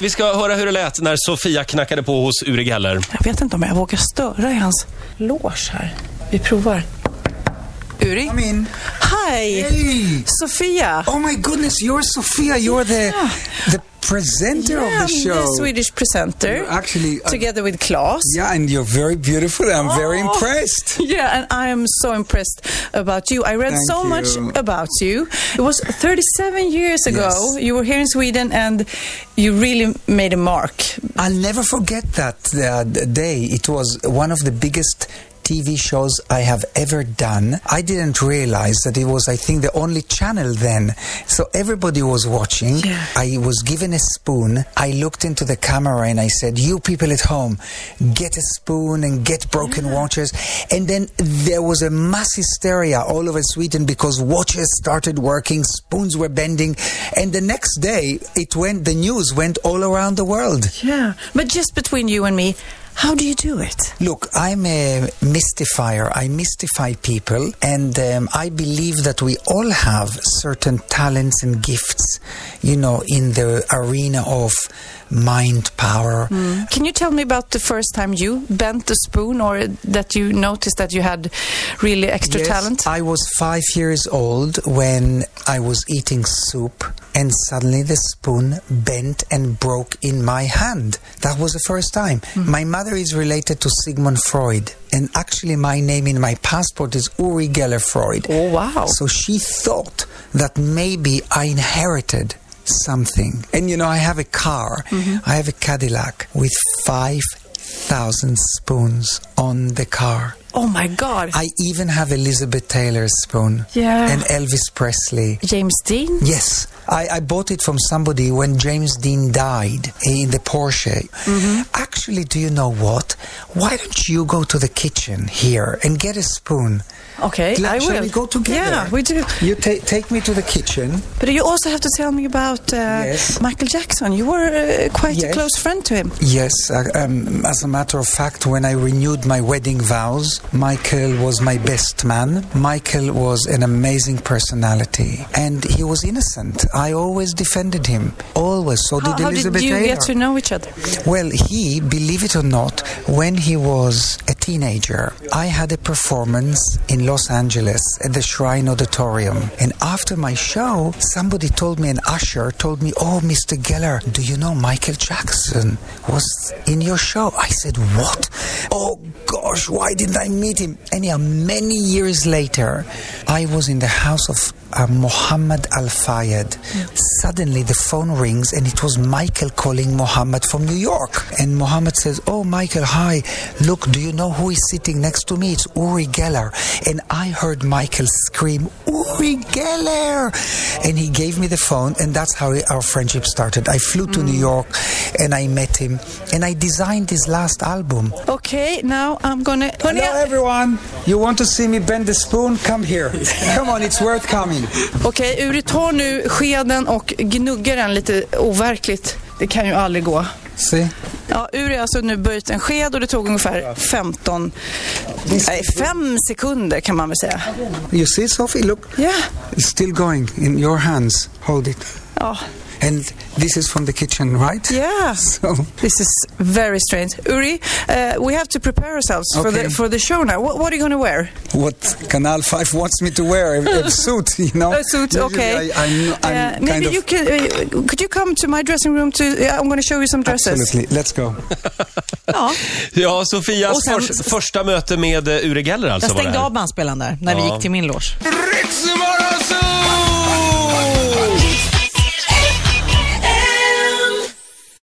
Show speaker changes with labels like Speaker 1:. Speaker 1: Vi ska höra hur det lät när Sofia knackade på hos Uri Geller.
Speaker 2: Jag vet inte om jag vågar störa i hans loge här. Vi provar. Uri?
Speaker 3: Come in.
Speaker 2: Hi!
Speaker 3: Hey!
Speaker 2: Sofia!
Speaker 3: Oh my goodness, you're Sophia. You're the the presenter
Speaker 2: Ah. Yeah,
Speaker 3: of the
Speaker 2: I'm
Speaker 3: show.
Speaker 2: the Swedish presenter.
Speaker 3: You're actually a-
Speaker 2: together with Klaus.
Speaker 3: Yeah, and you're very beautiful. I'm very
Speaker 2: Oh.
Speaker 3: impressed.
Speaker 2: Yeah, and I am so impressed about you. I read
Speaker 3: Thank
Speaker 2: so
Speaker 3: you.
Speaker 2: much about you. It was 37 years ago.
Speaker 3: Yes.
Speaker 2: You were here in Sweden and you really made a mark.
Speaker 3: I'll never forget that uh, d- day. It was one of the biggest TV shows I have ever done. I didn't realize that it was, I think, the only channel then. So everybody was watching.
Speaker 2: Yeah.
Speaker 3: I was given a spoon. I looked into the camera and I said, You people at home, get a spoon and get broken watches. And then there was a mass hysteria all over Sweden because watches started working, spoons were bending. And the next day, it went, the news went all around the world.
Speaker 2: Yeah. But just between you and me, how do you do it?
Speaker 3: Look, I'm a mystifier. I mystify people, and um, I believe that we all have certain talents and gifts, you know, in the arena of mind power.
Speaker 2: Can you tell me about the first time you bent the spoon or that you noticed that you had really extra
Speaker 3: Yes,
Speaker 2: talent?
Speaker 3: I was five years old when I was eating soup, and suddenly the spoon bent and broke in my hand. That was the first time.
Speaker 2: Hmm.
Speaker 3: My mother is related to Sigmund Freud, and actually, my name in my passport is Uri Geller Freud.
Speaker 2: Oh, wow.
Speaker 3: So she thought that maybe I inherited something. And you know, I have a car, I have a Cadillac with 5,000 spoons on the car.
Speaker 2: oh my God.
Speaker 3: I even have Elizabeth Taylor's spoon
Speaker 2: Yeah.
Speaker 3: and Elvis Presley.
Speaker 2: James Dean?
Speaker 3: Yes, I, I bought it from somebody when James Dean died eh, in the Porsche. Actually, do you know what? Why don't you go to the kitchen here and get a spoon?
Speaker 2: Okay,
Speaker 3: Shall
Speaker 2: I will.
Speaker 3: we go together?
Speaker 2: Yeah, we do.
Speaker 3: You ta- take me to the kitchen.
Speaker 2: But you also have to tell me about uh,
Speaker 3: Yes.
Speaker 2: Michael Jackson. You were uh, quite a
Speaker 3: Yes.
Speaker 2: close friend to him.
Speaker 3: Yes, I, um, as a matter of fact, when I renewed my wedding vows, Michael was my best man. Michael was an amazing personality, and he was innocent. I always defended him, always. So
Speaker 2: How,
Speaker 3: did
Speaker 2: how
Speaker 3: Elizabeth
Speaker 2: did you
Speaker 3: Taylor.
Speaker 2: get to know each other?
Speaker 3: Well, he, believe it or not, when he was a teenager, I had a performance in Los Angeles at the Shrine Auditorium. And after my show, somebody told me, an usher told me, Oh, Mr. Geller, do you know Michael Jackson was in your show? I said, What? Oh, gosh, why didn't I meet him? Anyhow, many years later, I was in the house of uh, Mohammed Al Fayed. Suddenly the phone rings and it was Michael calling Mohammed from New York. And Mohammed says, Oh, Michael, hi. Look, do you know who is sitting next to me? It's Uri Geller. And I heard Michael scream, Uri Geller. And he gave me the phone, and that's how our friendship started. I flew to New York and I met him, and I designed his last album.
Speaker 2: Okay, now I'm gonna.
Speaker 3: Hello, everyone. You want to see me bend the spoon? Come here. Come on, it's worth coming.
Speaker 2: Okej, Uri, ta nu skeden och gnugga den lite overkligt. Det kan ju aldrig gå.
Speaker 3: See?
Speaker 2: Ja, Uri har alltså nu böjt en sked och det tog ungefär 15... Nej, 5 sekunder kan man väl säga.
Speaker 3: You see, Sophie, look,
Speaker 2: Ja,
Speaker 3: it's still going in your hands. Hold it.
Speaker 2: ja,
Speaker 3: And this is from the kitchen, right?
Speaker 2: ja.
Speaker 3: So,
Speaker 2: This is very strange. Uri, uh, we have to prepare ourselves for,
Speaker 3: Okay.
Speaker 2: the, for the show now. What, what are you gonna wear?
Speaker 3: what Canal 5 wants me to wear, a, a suit, you know?
Speaker 2: A suit,
Speaker 3: Oh,
Speaker 2: okay.
Speaker 3: Usually I, am
Speaker 2: Uh,
Speaker 3: I'm kind
Speaker 2: maybe
Speaker 3: of...
Speaker 2: you can. Uh, could you come to my dressing room? To yeah, I'm going to show you some dresses.
Speaker 3: Absolutely. Let's go.
Speaker 4: Ja,
Speaker 1: Ja, Sofias
Speaker 4: Och sen-
Speaker 1: förs- första möte med eh, Uri Geller alltså
Speaker 4: jag
Speaker 1: var det
Speaker 4: stängde
Speaker 1: här.
Speaker 4: av bandspelaren där när vi
Speaker 1: Ja.
Speaker 4: gick till min loge.
Speaker 5: Ritzemorgon